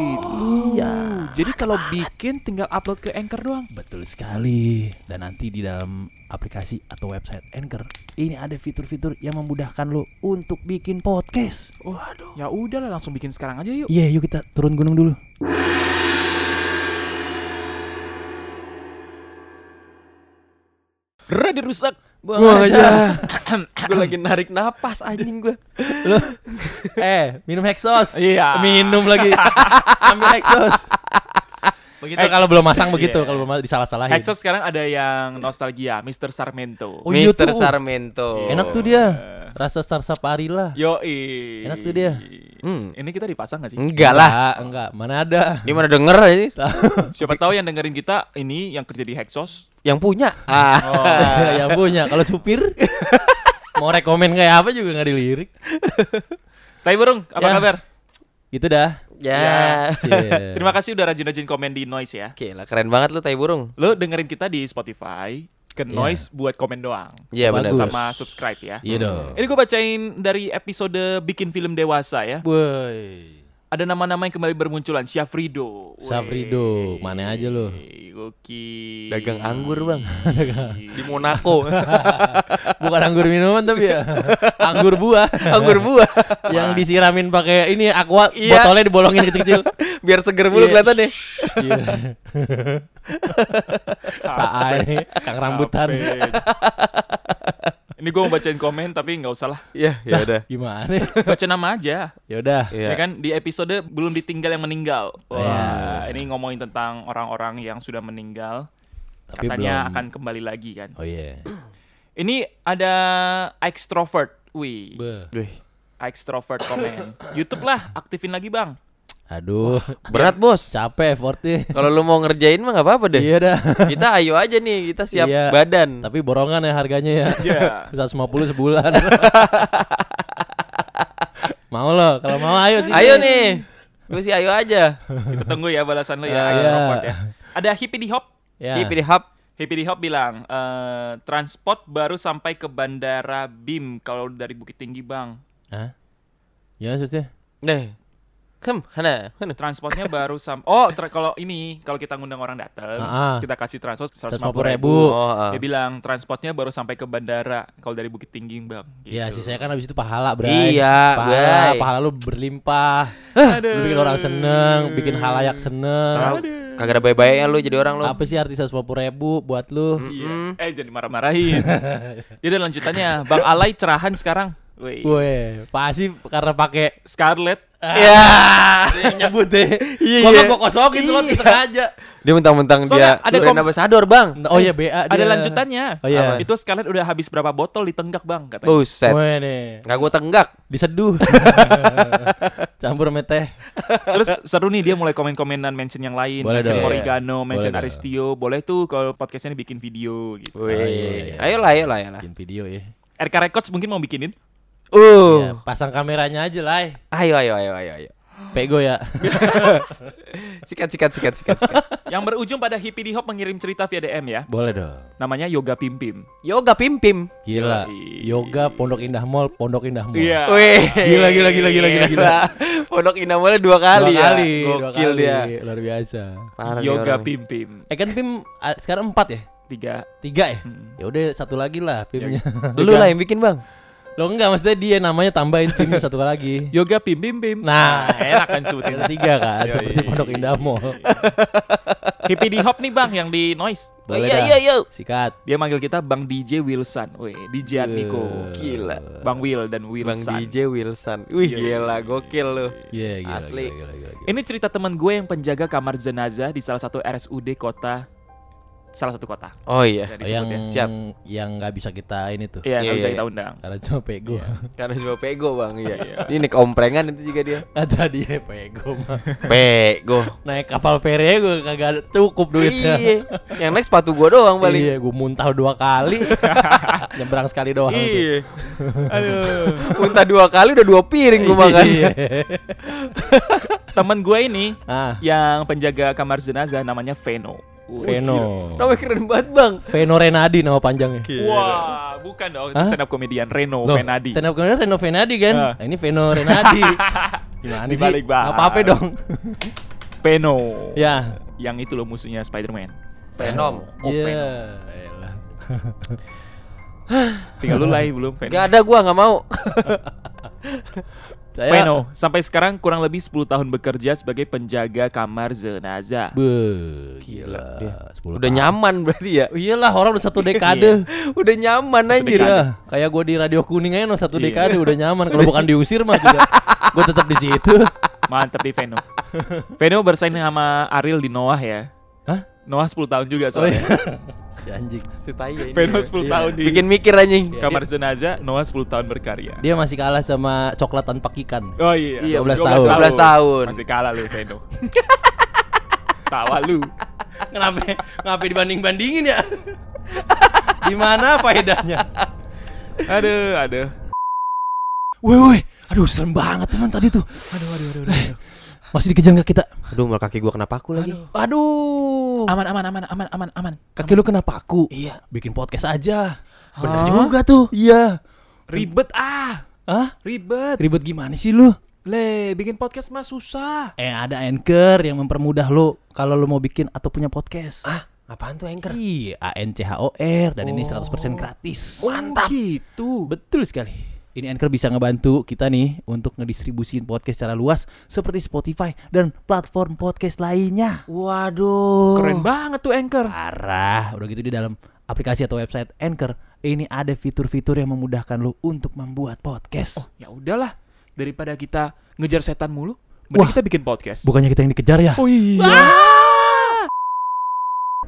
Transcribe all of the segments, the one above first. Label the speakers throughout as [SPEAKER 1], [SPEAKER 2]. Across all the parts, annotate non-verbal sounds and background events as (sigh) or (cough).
[SPEAKER 1] gitu.
[SPEAKER 2] Iya.
[SPEAKER 1] Jadi kalau bikin tinggal upload ke Anchor doang.
[SPEAKER 2] Betul sekali. Dan nanti di dalam aplikasi atau website Anchor, ini ada fitur-fitur yang memudahkan lo untuk bikin podcast.
[SPEAKER 3] Oh,
[SPEAKER 1] Waduh. Ya udahlah langsung bikin sekarang aja yuk.
[SPEAKER 2] Iya, yuk kita turun gunung dulu.
[SPEAKER 1] Radio rusak.
[SPEAKER 3] Gua aja. (coughs) gua lagi narik napas anjing (coughs) gua.
[SPEAKER 2] eh, minum Hexos.
[SPEAKER 1] Iya.
[SPEAKER 2] Minum
[SPEAKER 3] (laughs)
[SPEAKER 2] lagi. Ambil Hexos. Begitu kalau belum masang begitu,
[SPEAKER 3] Iya.
[SPEAKER 2] kalau belum disalah-salahin.
[SPEAKER 1] Hexos sekarang ada yang nostalgia, Mr. Sarmento. Eh,
[SPEAKER 2] Oh, iya
[SPEAKER 3] Mister
[SPEAKER 2] tuh.
[SPEAKER 3] Sarmento.
[SPEAKER 2] Enak tuh dia. Rasa sarsapari lah.
[SPEAKER 1] Yoi.
[SPEAKER 2] Enak tuh dia.
[SPEAKER 3] Hmm.
[SPEAKER 1] Ini kita dipasang gak sih?
[SPEAKER 3] Enggak lah.
[SPEAKER 2] Enggak, enggak. Mana ada.
[SPEAKER 3] Dia mana denger ini?
[SPEAKER 1] Siapa tahu yang dengerin kita ini yang kerja di Hexos.
[SPEAKER 3] Yang punya. Ah.
[SPEAKER 2] (laughs) yang Ya punya. Kalau supir
[SPEAKER 3] (laughs)
[SPEAKER 2] mau rekomen kayak apa juga nggak dilirik.
[SPEAKER 1] Tai Burung, apa
[SPEAKER 2] Ya.
[SPEAKER 1] kabar?
[SPEAKER 2] Gitu dah.
[SPEAKER 3] Ya.
[SPEAKER 2] Eh. Iya.
[SPEAKER 1] Terima kasih udah rajin-rajin komen di Noise ya.
[SPEAKER 3] Oke lah, keren banget lu tai burung.
[SPEAKER 1] Lo dengerin kita di Spotify, ke
[SPEAKER 2] Iya.
[SPEAKER 1] Noise buat komen doang.
[SPEAKER 3] Iya benar.
[SPEAKER 2] Bagus.
[SPEAKER 1] Sama subscribe ya.
[SPEAKER 2] Iya dong.
[SPEAKER 1] Ini gue bacain dari episode bikin film dewasa ya.
[SPEAKER 2] Boy.
[SPEAKER 1] Ada nama-nama yang kembali bermunculan. Syafrido. Wey.
[SPEAKER 2] Syafrido, mana aja lu?
[SPEAKER 1] Gokil.
[SPEAKER 3] Dagang anggur, Bang.
[SPEAKER 1] Di
[SPEAKER 3] Di (laughs) Monaco.
[SPEAKER 2] (laughs) Bukan anggur minuman tapi ya. Anggur buah.
[SPEAKER 3] Anggur buah.
[SPEAKER 2] (laughs) yang disiramin pakai ini aqua
[SPEAKER 3] Iya.
[SPEAKER 2] botolnya dibolongin kecil-kecil.
[SPEAKER 3] (laughs) Biar seger
[SPEAKER 2] Iya.
[SPEAKER 3] mulu kelihatan deh.
[SPEAKER 2] Iya. Saai kang rambutan.
[SPEAKER 1] Ini gue mau bacain komen tapi nggak usah lah.
[SPEAKER 3] (laughs) Iya, ya udah.
[SPEAKER 2] Gimana?
[SPEAKER 1] Baca nama aja.
[SPEAKER 2] Nah, Ya udah.
[SPEAKER 3] Iya.
[SPEAKER 1] Ya kan di episode belum ditinggal yang meninggal. Wah,
[SPEAKER 2] Iya.
[SPEAKER 1] ini ngomongin tentang orang-orang yang sudah meninggal.
[SPEAKER 2] Tapi
[SPEAKER 1] katanya
[SPEAKER 2] belum-
[SPEAKER 1] akan kembali lagi kan.
[SPEAKER 2] Oh iya.
[SPEAKER 1] Ini ada extrovert. Wih,
[SPEAKER 2] Be.
[SPEAKER 3] Wih,
[SPEAKER 1] extrovert komen. YouTube lah, aktifin lagi bang.
[SPEAKER 2] Aduh,
[SPEAKER 3] Berat, Bos.
[SPEAKER 2] capek effortnya.
[SPEAKER 3] Kalau lu mau ngerjain mah nggak apa-apa deh.
[SPEAKER 2] Iya dah.
[SPEAKER 3] Kita ayo aja nih, kita siap
[SPEAKER 2] Iya.
[SPEAKER 3] badan.
[SPEAKER 2] Tapi borongan ya harganya ya.
[SPEAKER 3] Iya.
[SPEAKER 1] Ya.
[SPEAKER 2] 150
[SPEAKER 3] (laughs)
[SPEAKER 2] sebulan. mau lo, kalau mau ayo sih.
[SPEAKER 3] Ayo nih. Gue sih ayo aja.
[SPEAKER 2] (laughs)
[SPEAKER 1] Kita tunggu ya balasan lo ya,
[SPEAKER 2] Ah,
[SPEAKER 1] extrovert
[SPEAKER 2] iya.
[SPEAKER 1] ya. Ada hippie di hop.
[SPEAKER 2] Ya.
[SPEAKER 3] Di Pilih Hub.
[SPEAKER 1] Hippie di hop bilang, eh, transport baru sampai ke bandara BIM kalau dari Bukit Tinggi bang.
[SPEAKER 2] Hah? Ya maksudnya.
[SPEAKER 3] Nih. Kem, hana, hana.
[SPEAKER 1] Transportnya baru sampai. Oh, tra- kalau ini kalau kita ngundang orang datang,
[SPEAKER 2] Ah, ah.
[SPEAKER 1] kita kasih transport 150
[SPEAKER 2] 150.000.
[SPEAKER 1] ribu.
[SPEAKER 3] Oh, ah.
[SPEAKER 2] Iya,
[SPEAKER 1] Dia bilang transportnya baru sampai ke bandara kalau dari Bukit Tinggi bang.
[SPEAKER 2] Ya
[SPEAKER 1] Gitu.
[SPEAKER 2] sisanya kan habis itu pahala, Bray.
[SPEAKER 3] Oh, Iya,
[SPEAKER 2] pahala,
[SPEAKER 3] Bray.
[SPEAKER 2] pahala lu berlimpah. Lu bikin orang seneng, bikin halayak seneng.
[SPEAKER 3] Tahu, Kagak ada baik-baiknya lu jadi orang lu. Mm.
[SPEAKER 2] Apa sih arti 150 ribu buat lu?
[SPEAKER 1] Iya. Eh
[SPEAKER 2] (laughs)
[SPEAKER 1] jadi marah-marahin. Jadi ada lanjutannya, Bang Alay cerahan sekarang. Woi.
[SPEAKER 2] Gue pasti karena pakai
[SPEAKER 1] Scarlett.
[SPEAKER 3] Ya. (laughs)
[SPEAKER 2] nyebut deh.
[SPEAKER 3] Iya,
[SPEAKER 2] Gua kan
[SPEAKER 3] iya.
[SPEAKER 2] gua kosokin slot sengaja.
[SPEAKER 3] Dia mentang-mentang
[SPEAKER 1] Soalnya
[SPEAKER 3] dia
[SPEAKER 1] ada
[SPEAKER 3] ada
[SPEAKER 1] kom-
[SPEAKER 3] ambassador, Bang.
[SPEAKER 2] Oh iya BA
[SPEAKER 1] Ada
[SPEAKER 2] dia.
[SPEAKER 1] lanjutannya.
[SPEAKER 2] Oh iya. Oh.
[SPEAKER 1] Apa? Itu Scarlett udah habis berapa botol ditenggak, Bang, katanya.
[SPEAKER 3] Buset.
[SPEAKER 2] Weh, nih.
[SPEAKER 3] Enggak gua tenggak. (laughs)
[SPEAKER 2] diseduh campur sama teh
[SPEAKER 1] Terus seru nih dia mulai komen-komenan mention yang lain,
[SPEAKER 2] Boleh
[SPEAKER 1] mention
[SPEAKER 2] dong.
[SPEAKER 1] Morigano,
[SPEAKER 2] Boleh
[SPEAKER 1] mention
[SPEAKER 2] dong.
[SPEAKER 1] Aristio. Boleh tuh kalau podcastnya dibikin video gitu.
[SPEAKER 2] iya,
[SPEAKER 3] Wih.
[SPEAKER 2] iya.
[SPEAKER 3] Ayolah, ayolah, ayolah.
[SPEAKER 2] bikin video ya.
[SPEAKER 1] RK Records mungkin mau bikinin.
[SPEAKER 2] Ya,
[SPEAKER 3] Uh.
[SPEAKER 2] pasang kameranya aja lah eh.
[SPEAKER 3] Ayo, ayo, ayo, ayo, ayo.
[SPEAKER 2] pego
[SPEAKER 3] (laughs)
[SPEAKER 2] ya
[SPEAKER 3] Sikat, sikat, sikat, sikat, sikat.
[SPEAKER 1] Yang berujung pada Hippie di Hop mengirim cerita via DM ya.
[SPEAKER 2] boleh dong
[SPEAKER 1] Namanya Yoga Pimpim.
[SPEAKER 3] Yoga pim-pim.
[SPEAKER 2] gila
[SPEAKER 1] Yoi.
[SPEAKER 2] yoga pondok indah mall pondok indah mall
[SPEAKER 1] Iya.
[SPEAKER 3] Wih.
[SPEAKER 2] Gila, gila, gila, gila, gila, gila.
[SPEAKER 3] Pondok Inamolnya dua
[SPEAKER 2] dua
[SPEAKER 3] kali ya.
[SPEAKER 2] kali dua
[SPEAKER 3] Gokil
[SPEAKER 2] kali.
[SPEAKER 3] dia.
[SPEAKER 2] luar biasa
[SPEAKER 3] Parah nih
[SPEAKER 1] Yoga
[SPEAKER 3] orang.
[SPEAKER 1] Pimpim.
[SPEAKER 2] eh kan pim ah, sekarang empat ya
[SPEAKER 1] Tiga.
[SPEAKER 2] tiga ya
[SPEAKER 1] Hmm.
[SPEAKER 2] ya udah satu lagi lah pimnya
[SPEAKER 3] Lu lah yang bikin, Bang.
[SPEAKER 2] lo enggak maksudnya dia namanya tambahin timnya satu lagi (laughs)
[SPEAKER 1] Yoga Pimpim Pim.
[SPEAKER 2] Nah.
[SPEAKER 1] enak kan
[SPEAKER 2] (laughs)
[SPEAKER 1] sebutin.
[SPEAKER 2] Ada tiga kan
[SPEAKER 1] Yoi.
[SPEAKER 2] seperti pondok indah mall
[SPEAKER 1] Hippie di hop nih bang yang di noise.
[SPEAKER 2] (laughs) boleh
[SPEAKER 3] Iya,
[SPEAKER 2] dah
[SPEAKER 3] iya, iya.
[SPEAKER 2] sikat
[SPEAKER 1] Dia manggil kita Bang DJ Wilson. Weh, DJ Admiko.
[SPEAKER 3] Gila.
[SPEAKER 1] Bang Will dan
[SPEAKER 2] Eh,
[SPEAKER 3] Bang
[SPEAKER 1] Wilson.
[SPEAKER 3] DJ Wilson. Wih, gila gokil lu.
[SPEAKER 2] Iya, gila,
[SPEAKER 3] Asli. Iya,
[SPEAKER 2] gila, gila, gila, gila.
[SPEAKER 1] Ini cerita teman gue yang penjaga kamar jenazah di salah satu RSUD kota salah satu kota.
[SPEAKER 3] Oh iya.
[SPEAKER 1] Dari
[SPEAKER 2] Oh, yang
[SPEAKER 1] sebutnya.
[SPEAKER 3] Siap.
[SPEAKER 2] yang nggak bisa kita ini tuh
[SPEAKER 1] Iya,
[SPEAKER 3] Iya,
[SPEAKER 1] nggak bisa
[SPEAKER 3] iya.
[SPEAKER 1] kita undang.
[SPEAKER 2] karena cuma pego (laughs)
[SPEAKER 3] Karena cuma kan pego bang iya.
[SPEAKER 1] Iya.
[SPEAKER 3] Ini nik omprengan itu juga dia.
[SPEAKER 2] Ah, tadi ya pego mah.
[SPEAKER 3] Pego.
[SPEAKER 2] naik kapal pere gue kagak ada- cukup duitnya
[SPEAKER 3] Iya. Yang naik sepatu gua doang paling.
[SPEAKER 2] iya gue muntah dua (laughs) kali nyebrang sekali doang (laughs) tuh.
[SPEAKER 3] Iya. Aduh. Muntah dua kali udah dua piring gua makan.
[SPEAKER 2] Iya.
[SPEAKER 1] Temen gue ini
[SPEAKER 2] ah
[SPEAKER 1] yang penjaga kamar jenazah namanya Veno.
[SPEAKER 2] Veno
[SPEAKER 3] Namanya keren banget bang.
[SPEAKER 2] Veno Renadi nama panjangnya
[SPEAKER 1] Wah, bukan dong. itu
[SPEAKER 2] Hah?
[SPEAKER 1] stand up komedian Reno
[SPEAKER 2] Loh,
[SPEAKER 1] Venadi.
[SPEAKER 2] Stand up comedian Reno Venadi kan?
[SPEAKER 1] Ah.
[SPEAKER 2] Nah, ini Veno Renadi. Gimana sih?
[SPEAKER 1] Dibalik banget.
[SPEAKER 2] Apa-apa ya dong.
[SPEAKER 1] Veno.
[SPEAKER 2] ya.
[SPEAKER 1] Yang itu loh musuhnya Spider-Man.
[SPEAKER 3] Venom.
[SPEAKER 1] Oh,
[SPEAKER 2] Iya.
[SPEAKER 1] Veno.
[SPEAKER 2] elah.
[SPEAKER 1] Tinggal
[SPEAKER 2] (laughs)
[SPEAKER 1] lu lah belum Veno.
[SPEAKER 3] Gak ada gua nggak mau.
[SPEAKER 2] Saya
[SPEAKER 1] Veno sampai sekarang kurang lebih 10 tahun bekerja sebagai penjaga kamar jenazah.
[SPEAKER 2] Be,
[SPEAKER 3] Gila,
[SPEAKER 2] gila.
[SPEAKER 3] dia.
[SPEAKER 2] 10
[SPEAKER 3] Udah
[SPEAKER 2] tahun.
[SPEAKER 3] nyaman berarti ya. (laughs)
[SPEAKER 2] Iyalah orang udah satu dekade.
[SPEAKER 3] Udah nyaman anjir.
[SPEAKER 1] dekade.
[SPEAKER 2] Iya, kayak gue di radio kuning aja no satu
[SPEAKER 1] Iya.
[SPEAKER 2] dekade udah nyaman. Kalau bukan diusir mah juga gue tetap di situ.
[SPEAKER 1] Mantap di Veno. Veno bersaing sama Ariel di Noah ya.
[SPEAKER 2] Hah? (laughs)
[SPEAKER 1] Noah 10 tahun juga
[SPEAKER 2] Oh, iya.
[SPEAKER 1] soalnya.
[SPEAKER 2] si anjing.
[SPEAKER 3] Si tai ya ini.
[SPEAKER 1] Veno 10 tahun di Iya.
[SPEAKER 3] Bikin mikir anjing.
[SPEAKER 1] kamar jenazah, Noah 10 tahun berkarya.
[SPEAKER 2] Dia masih kalah sama coklat tanpa kikan.
[SPEAKER 1] Oh iya,
[SPEAKER 3] Iya,
[SPEAKER 2] 12 tahun.
[SPEAKER 3] 12 tahun.
[SPEAKER 1] Masih kalah lu Veno. (laughs) Tawa lu.
[SPEAKER 2] Kenapa? Ngapa dibanding-bandingin ya? di mana faedahnya?
[SPEAKER 1] Aduh, aduh.
[SPEAKER 2] Woi woi, aduh serem banget teman tadi tuh. Aduh aduh aduh. aduh, Masih dikejar nggak kita?
[SPEAKER 3] Aduh, mal kaki gua kenapa aku lagi?
[SPEAKER 2] Aduh.
[SPEAKER 1] Aman aman aman aman aman aman.
[SPEAKER 2] Kaki lu kenapa aku? Iya. Ah? Bikin podcast aja. Bener juga tuh. Iya.
[SPEAKER 1] Ribet ah.
[SPEAKER 2] Hah?
[SPEAKER 1] Ribet.
[SPEAKER 2] Ribet gimana sih lu?
[SPEAKER 1] Le, bikin podcast mah susah.
[SPEAKER 2] Eh ada anchor yang mempermudah lu kalau lu mau bikin atau punya podcast.
[SPEAKER 3] Ah, apaan tuh anchor?
[SPEAKER 2] Iya, A N C H O R dan ini 100% gratis.
[SPEAKER 1] Mantap. Oh, gitu.
[SPEAKER 2] Betul sekali. Ini Anchor bisa ngebantu kita nih untuk ngedistribusin podcast secara luas seperti Spotify dan platform podcast lainnya.
[SPEAKER 3] Waduh.
[SPEAKER 1] Keren banget tuh Anchor.
[SPEAKER 2] Parah, udah gitu di dalam aplikasi atau website Anchor ini ada fitur-fitur yang memudahkan lu untuk membuat podcast.
[SPEAKER 1] Ya udahlah, daripada kita ngejar setan mulu, mending
[SPEAKER 2] Wah.
[SPEAKER 1] kita bikin podcast.
[SPEAKER 2] Bukannya kita yang dikejar ya?
[SPEAKER 1] Oh iya.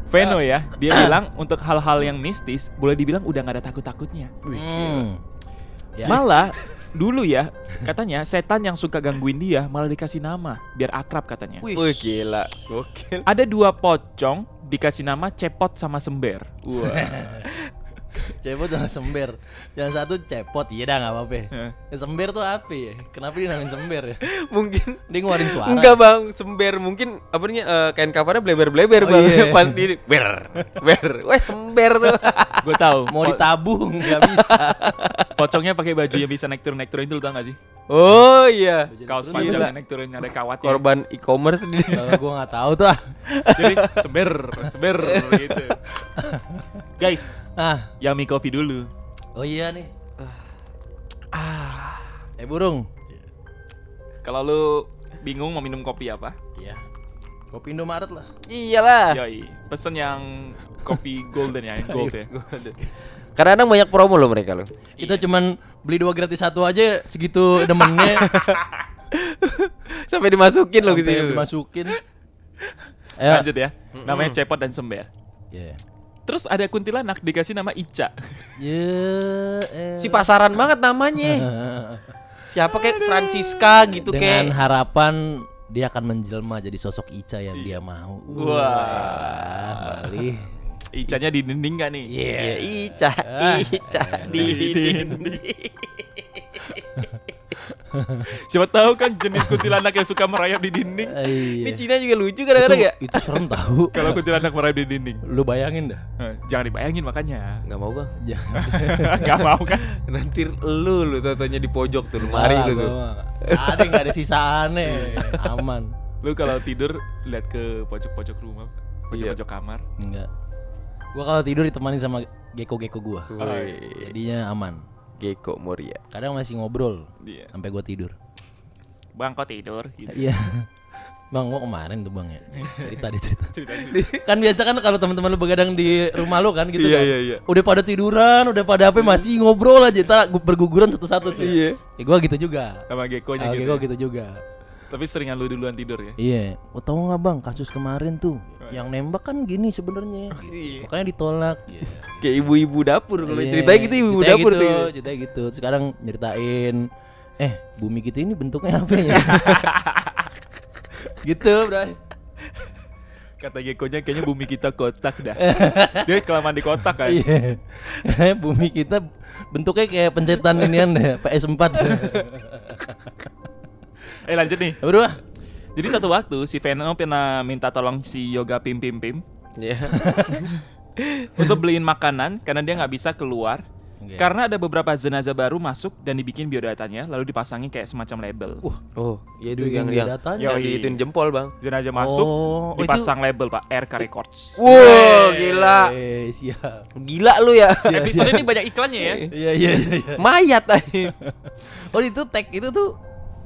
[SPEAKER 1] Veno ya, dia bilang untuk hal-hal yang mistis boleh dibilang udah nggak ada takut-takutnya.
[SPEAKER 2] Hmm. Ya.
[SPEAKER 1] Malah dulu ya, katanya setan yang suka gangguin dia malah dikasih nama biar akrab katanya.
[SPEAKER 2] Wih.
[SPEAKER 3] Wih gila, gokil.
[SPEAKER 1] Ada dua pocong dikasih nama cepot sama sember.
[SPEAKER 3] Wah.
[SPEAKER 2] Cepot sama sember. Yang satu cepot, iya dah nggak apa-apa. Yang sember tuh apa ya? Kenapa dia namain sember ya?
[SPEAKER 3] mungkin
[SPEAKER 2] Dia ngeluarin suara.
[SPEAKER 3] enggak bang, sember mungkin apa namanya eh, kain kafarnya bleber-bleber
[SPEAKER 2] Oh,
[SPEAKER 3] bang.
[SPEAKER 2] iya.
[SPEAKER 3] (laughs) Pas di ber, ber, weh sember tuh. (laughs)
[SPEAKER 1] Gue tahu.
[SPEAKER 2] Mau
[SPEAKER 1] po-
[SPEAKER 2] ditabung nggak (laughs) bisa.
[SPEAKER 1] pocongnya pakai baju yang bisa naik turun naik turun itu lu tau gak sih?
[SPEAKER 3] oh iya,
[SPEAKER 1] Kaos
[SPEAKER 3] turun
[SPEAKER 1] panjang
[SPEAKER 3] bisa.
[SPEAKER 1] yang naik turun yang ada ya. kawatnya.
[SPEAKER 3] korban e-commerce di.
[SPEAKER 2] (laughs) Kalau gua nggak tahu tuh. ah.
[SPEAKER 1] Jadi sember, sember gitu. Guys,
[SPEAKER 2] Ah,
[SPEAKER 1] yang mie coffee dulu.
[SPEAKER 2] Oh iya nih. Ah. Eh burung.
[SPEAKER 1] Kalau lu bingung mau minum kopi apa?
[SPEAKER 2] Iya. Kopi Indomaret lah.
[SPEAKER 3] Iyalah.
[SPEAKER 1] Yoi, pesen yang kopi golden ya, yang gold ya.
[SPEAKER 3] Karena kadang banyak promo loh mereka loh.
[SPEAKER 2] Kita cuman beli dua gratis satu aja segitu demennya
[SPEAKER 3] Sampai dimasukin
[SPEAKER 2] (laughs)
[SPEAKER 3] loh
[SPEAKER 2] sampai
[SPEAKER 3] ke sini.
[SPEAKER 2] dimasukin. Eh,
[SPEAKER 1] Lanjut ya. Namanya cepot dan sember.
[SPEAKER 2] Iya.
[SPEAKER 1] Terus ada kuntilanak dikasih nama Ica.
[SPEAKER 2] Ya, eh.
[SPEAKER 3] Si pasaran banget
[SPEAKER 2] (laughs)
[SPEAKER 3] namanya. Siapa kayak Francisca gitu
[SPEAKER 2] Dengan
[SPEAKER 3] kayak.
[SPEAKER 2] harapan dia akan menjelma jadi sosok Ica yang dia mau. Ah,
[SPEAKER 1] Wah.
[SPEAKER 2] Bali.
[SPEAKER 1] Icanya di dinding gak nih?
[SPEAKER 3] Iya, Ica,
[SPEAKER 2] Ah.
[SPEAKER 3] Ica di dinding.
[SPEAKER 1] Siapa tahu kan jenis kuntilanak yang suka merayap di dinding.
[SPEAKER 2] Eh,
[SPEAKER 3] Ini
[SPEAKER 2] Iya.
[SPEAKER 3] Cina juga
[SPEAKER 2] Itu,
[SPEAKER 3] lucu kadang-kadang ya.
[SPEAKER 2] itu serem tahu.
[SPEAKER 1] Kalau kuntilanak merayap di dinding.
[SPEAKER 2] Lu bayangin dah.
[SPEAKER 1] Eh, Jangan dibayangin makanya. (laughs)
[SPEAKER 3] Gak mau bang.
[SPEAKER 2] Jangan.
[SPEAKER 1] Gak mau kan?
[SPEAKER 3] Nanti lu lu tanya di pojok tuh lemari
[SPEAKER 2] Parah
[SPEAKER 3] lu
[SPEAKER 2] gua
[SPEAKER 3] tuh. (laughs)
[SPEAKER 2] mah. Ada nggak ada sisaannya? Aman.
[SPEAKER 1] Lu kalau tidur lihat ke pojok-pojok rumah, pojok-pojok kamar.
[SPEAKER 2] Enggak. Gua kalau tidur ditemani sama geko-geko gua.
[SPEAKER 3] Woi,
[SPEAKER 2] Jadinya aman.
[SPEAKER 3] Geko Moria.
[SPEAKER 2] Kadang masih ngobrol
[SPEAKER 1] Iya.
[SPEAKER 2] sampai gua tidur.
[SPEAKER 1] Bang kok tidur? Gitu.
[SPEAKER 2] Iya. (laughs) Bang, gua kemarin tuh bang ya cerita di
[SPEAKER 3] (laughs)
[SPEAKER 2] cerita. (laughs) kan biasa kan kalau teman-teman lu begadang di rumah lu kan gitu
[SPEAKER 3] Iya,
[SPEAKER 2] kan.
[SPEAKER 3] iya, iya.
[SPEAKER 2] Udah pada tiduran, udah pada apa masih ngobrol aja. Entar gua berguguran satu-satu tuh.
[SPEAKER 3] Iya.
[SPEAKER 2] Ya, gua gitu juga.
[SPEAKER 1] Sama gekonya
[SPEAKER 2] Ah,
[SPEAKER 1] gitu.
[SPEAKER 2] Geko gitu juga.
[SPEAKER 1] Tapi seringan lu duluan tidur ya.
[SPEAKER 2] Iya. Oh, tahu nggak bang kasus kemarin tuh? yang nembak kan gini sebenarnya gitu.
[SPEAKER 3] Iya.
[SPEAKER 2] makanya ditolak
[SPEAKER 3] Kayak ibu-ibu dapur kalau
[SPEAKER 2] Iya,
[SPEAKER 3] ceritanya gitu ibu-ibu
[SPEAKER 2] ceritanya
[SPEAKER 3] dapur
[SPEAKER 2] gitu,
[SPEAKER 3] tuh.
[SPEAKER 2] ceritanya gitu Terus sekarang nyeritain eh bumi kita ini bentuknya apa
[SPEAKER 3] (laughs)
[SPEAKER 2] ya gitu bro
[SPEAKER 1] Kata Gekonya kayaknya bumi kita kotak dah. Dia kelamaan di kotak kan.
[SPEAKER 2] Iya. (laughs) Bumi kita bentuknya kayak pencetan inian ya, deh, PS4.
[SPEAKER 1] Eh lanjut nih.
[SPEAKER 2] Berdua.
[SPEAKER 3] Ah.
[SPEAKER 1] Jadi satu waktu si Venom pernah minta tolong si Yoga Pim Pim Pim
[SPEAKER 3] Iya.
[SPEAKER 1] untuk beliin makanan karena dia nggak bisa keluar.
[SPEAKER 2] Oke.
[SPEAKER 1] Karena ada beberapa jenazah baru masuk dan dibikin biodatanya lalu dipasangin kayak semacam label.
[SPEAKER 3] (laughs) Oh, iya itu
[SPEAKER 2] Dengan
[SPEAKER 3] yang yang
[SPEAKER 2] datanya.
[SPEAKER 3] yang
[SPEAKER 1] Yoi.
[SPEAKER 3] dihitung jempol, Bang.
[SPEAKER 1] Jenazah masuk
[SPEAKER 2] Oh, itu-
[SPEAKER 1] dipasang label Pak RK Records.
[SPEAKER 3] Oh, Wow, gila.
[SPEAKER 2] Eh, siap.
[SPEAKER 3] Gila lu ya.
[SPEAKER 1] Episode ini banyak iklannya ya.
[SPEAKER 2] Iya iya iya. iya.
[SPEAKER 3] Mayat aja.
[SPEAKER 2] Oh, itu tag itu tuh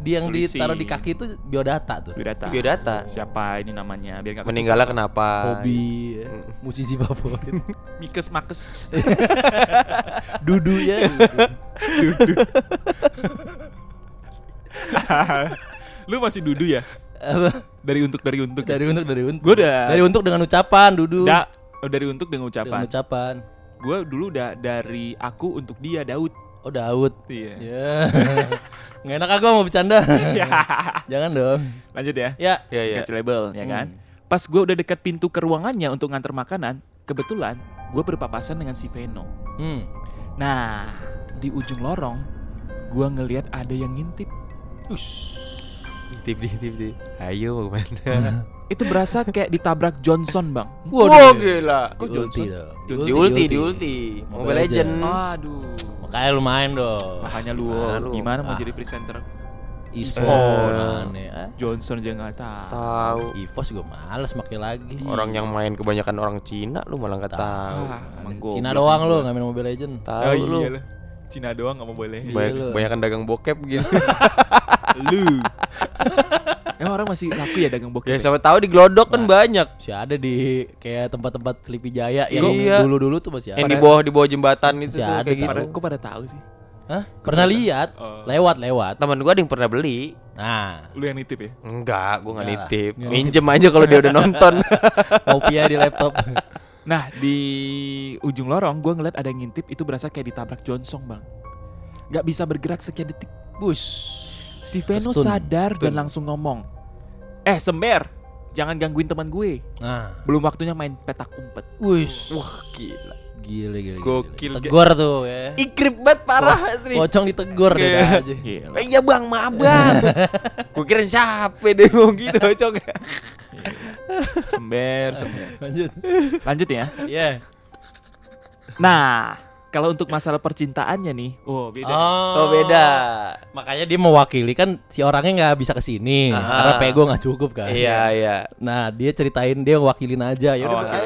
[SPEAKER 2] di yang
[SPEAKER 1] Polisi.
[SPEAKER 2] ditaruh di kaki itu biodata tuh.
[SPEAKER 1] Biodata.
[SPEAKER 3] Biodata.
[SPEAKER 1] Siapa ini namanya? Biar nggak
[SPEAKER 3] Meninggalnya kenapa?
[SPEAKER 2] Hobi ya.
[SPEAKER 1] Mm.
[SPEAKER 2] musisi favorit. (laughs)
[SPEAKER 1] Mikes Makes.
[SPEAKER 2] Dudu ya.
[SPEAKER 1] (laughs) Lu masih dudu ya?
[SPEAKER 2] Apa?
[SPEAKER 1] Dari untuk dari untuk. ya?
[SPEAKER 2] Dari untuk dari untuk.
[SPEAKER 1] Gua udah-
[SPEAKER 2] Dari untuk dengan ucapan, Dudu.
[SPEAKER 1] Da- oh, dari untuk dengan
[SPEAKER 2] Dengan
[SPEAKER 1] ucapan.
[SPEAKER 2] ucapan.
[SPEAKER 1] Gue dulu udah dari aku untuk dia Daud.
[SPEAKER 2] Oh, Daud.
[SPEAKER 1] Iya. (laughs)
[SPEAKER 2] Ya. (laughs) Nggak enak aku mau bercanda. Jangan dong.
[SPEAKER 1] Lanjut ya.
[SPEAKER 2] Ya.
[SPEAKER 3] Iya, iya.
[SPEAKER 1] Dikasih label ya kan. Pas gue udah dekat pintu ke ruangannya untuk nganter makanan, kebetulan gue berpapasan dengan si Veno.
[SPEAKER 2] Hmm.
[SPEAKER 1] Nah, di ujung lorong gue ngelihat ada yang ngintip. Ush.
[SPEAKER 3] Tip tip tip tip. Ayo mau kemana?
[SPEAKER 1] Itu berasa kayak ditabrak Johnson bang.
[SPEAKER 3] Wow, gila.
[SPEAKER 1] Kok
[SPEAKER 2] Diulti dong.
[SPEAKER 1] Johnson?
[SPEAKER 3] Di ulti, di ulti. Mobile Ah. Legend.
[SPEAKER 1] Aduh.
[SPEAKER 2] Makanya lu main dong.
[SPEAKER 1] Makanya lu,
[SPEAKER 3] Makanya lu.
[SPEAKER 1] gimana
[SPEAKER 2] Ah.
[SPEAKER 1] mau jadi presenter?
[SPEAKER 2] E-sport. Aneh, ah.
[SPEAKER 1] Johnson aja nggak tahu.
[SPEAKER 3] Tahu.
[SPEAKER 2] E-sport juga males pakai lagi.
[SPEAKER 3] Orang yang main kebanyakan orang Cina lu malah nggak Iya. tahu.
[SPEAKER 1] Ah, emang
[SPEAKER 2] Cina
[SPEAKER 1] goblok
[SPEAKER 2] doang
[SPEAKER 1] gua.
[SPEAKER 2] lu nggak main Mobile Legend.
[SPEAKER 3] Tahu
[SPEAKER 1] iya
[SPEAKER 3] lu.
[SPEAKER 1] lah. Cina doang nggak mau boleh.
[SPEAKER 2] Iya
[SPEAKER 3] Banyak
[SPEAKER 2] lu.
[SPEAKER 3] kebanyakan dagang bokep (laughs) gitu.
[SPEAKER 1] lu. Emang orang masih laku ya dagang bokep.
[SPEAKER 3] ya
[SPEAKER 1] ya?
[SPEAKER 3] siapa tahu di Glodok kan banyak.
[SPEAKER 2] Si ada di kayak tempat-tempat Sleepy Jaya yang
[SPEAKER 3] Iya.
[SPEAKER 2] dulu-dulu tuh
[SPEAKER 1] Eh,
[SPEAKER 2] masih
[SPEAKER 3] Yang
[SPEAKER 2] ada.
[SPEAKER 3] di bawah di bawah jembatan itu
[SPEAKER 2] Masih
[SPEAKER 3] tuh,
[SPEAKER 2] ada
[SPEAKER 3] kayak gitu.
[SPEAKER 1] Pada, kok pada tahu sih?
[SPEAKER 2] Hah? Pernah lihat?
[SPEAKER 1] Oh.
[SPEAKER 2] Lewat-lewat.
[SPEAKER 3] Teman gua ada yang pernah beli.
[SPEAKER 2] Nah,
[SPEAKER 1] Lu yang nitip ya?
[SPEAKER 3] Enggak, gua
[SPEAKER 2] Enggak
[SPEAKER 3] Iya nggak
[SPEAKER 2] lah.
[SPEAKER 3] nitip. Minjem aja kalau dia udah nonton.
[SPEAKER 2] kopinya di laptop.
[SPEAKER 1] Nah, di ujung lorong gue ngeliat ada yang ngintip itu berasa kayak ditabrak Johnson bang. Gak bisa bergerak sekian detik. Bus. Si Veno
[SPEAKER 2] Terus tun,
[SPEAKER 1] sadar dan langsung ngomong. Eh sember, jangan gangguin teman gue.
[SPEAKER 2] Nah,
[SPEAKER 1] Belum waktunya main petak umpet.
[SPEAKER 2] wush.
[SPEAKER 3] Wah, (laughs) gila.
[SPEAKER 2] Gile gile. gile,
[SPEAKER 3] Gokil,
[SPEAKER 2] gile.
[SPEAKER 3] ge-
[SPEAKER 2] Tegur tuh ya.
[SPEAKER 3] Ikrip banget parah asli.
[SPEAKER 2] Pocong ditegur deh
[SPEAKER 3] Iya.
[SPEAKER 2] aja.
[SPEAKER 1] Gila.
[SPEAKER 3] Eh, Iya bang, maaf (laughs) bang. Gue kira siapa deh mau gitu cok.
[SPEAKER 1] Sember, sember.
[SPEAKER 2] Lanjut.
[SPEAKER 1] Lanjut ya.
[SPEAKER 2] Iya.
[SPEAKER 1] Nah, kalau untuk masalah percintaannya nih, oh beda.
[SPEAKER 3] (laughs) Oh beda.
[SPEAKER 2] Makanya dia mewakili kan si orangnya nggak bisa kesini
[SPEAKER 3] Aha.
[SPEAKER 2] karena pego nggak cukup kan.
[SPEAKER 3] Ah. Iya iya.
[SPEAKER 2] Nah dia ceritain dia wakilin aja ya.
[SPEAKER 1] Oh, oke.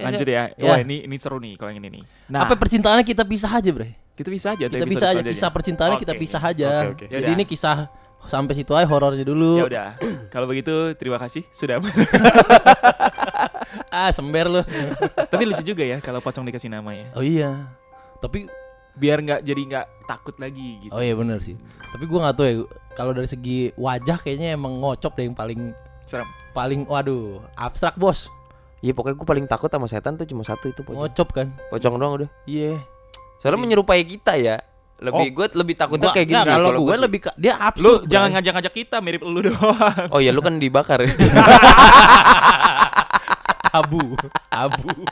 [SPEAKER 1] Lanjut ya.
[SPEAKER 2] Ya.
[SPEAKER 1] Wah, ini ini seru nih kalau yang ini nih. Nah,
[SPEAKER 2] Apa percintaannya kita pisah aja bre?
[SPEAKER 1] kita bisa aja tuh
[SPEAKER 2] Kita
[SPEAKER 1] episode
[SPEAKER 2] pisah aja
[SPEAKER 1] selanjutnya.
[SPEAKER 2] kisah percintaannya kita
[SPEAKER 1] Oke.
[SPEAKER 2] pisah aja.
[SPEAKER 3] Oke, oke.
[SPEAKER 2] Jadi
[SPEAKER 1] Yaudah.
[SPEAKER 2] ini kisah sampai situ aja horornya
[SPEAKER 1] Ya
[SPEAKER 2] dulu.
[SPEAKER 1] udah. Kalau begitu terima kasih sudah.
[SPEAKER 2] Ah sember lu.
[SPEAKER 1] Tapi lucu juga ya kalau pocong dikasih nama ya.
[SPEAKER 2] oh iya. Tapi
[SPEAKER 1] Biar nggak jadi nggak takut lagi gitu.
[SPEAKER 2] oh iya bener sih. Tapi gua nggak tahu ya. Kalau dari segi wajah kayaknya emang ngocop deh yang paling
[SPEAKER 1] Serem.
[SPEAKER 2] paling waduh abstrak bos.
[SPEAKER 3] Iya pokoknya gue paling takut sama setan tuh cuma satu itu pocong.
[SPEAKER 2] Ngocop kan.
[SPEAKER 3] Pocong doang udah.
[SPEAKER 2] Iya. Oh.
[SPEAKER 3] Soalnya menyerupai kita ya. Lebih gue lebih takutnya
[SPEAKER 2] Gua-
[SPEAKER 3] kayak gini.
[SPEAKER 2] enggak,
[SPEAKER 3] sih,
[SPEAKER 2] Kalau gue
[SPEAKER 3] sih.
[SPEAKER 2] lebih ke- dia
[SPEAKER 1] Lu
[SPEAKER 2] absurd.
[SPEAKER 1] jangan
[SPEAKER 2] Bang.
[SPEAKER 1] ngajak-ngajak kita mirip lu (laughs) doang.
[SPEAKER 3] Oh ya lu kan dibakar. ya.
[SPEAKER 2] (laughs) abu, abu.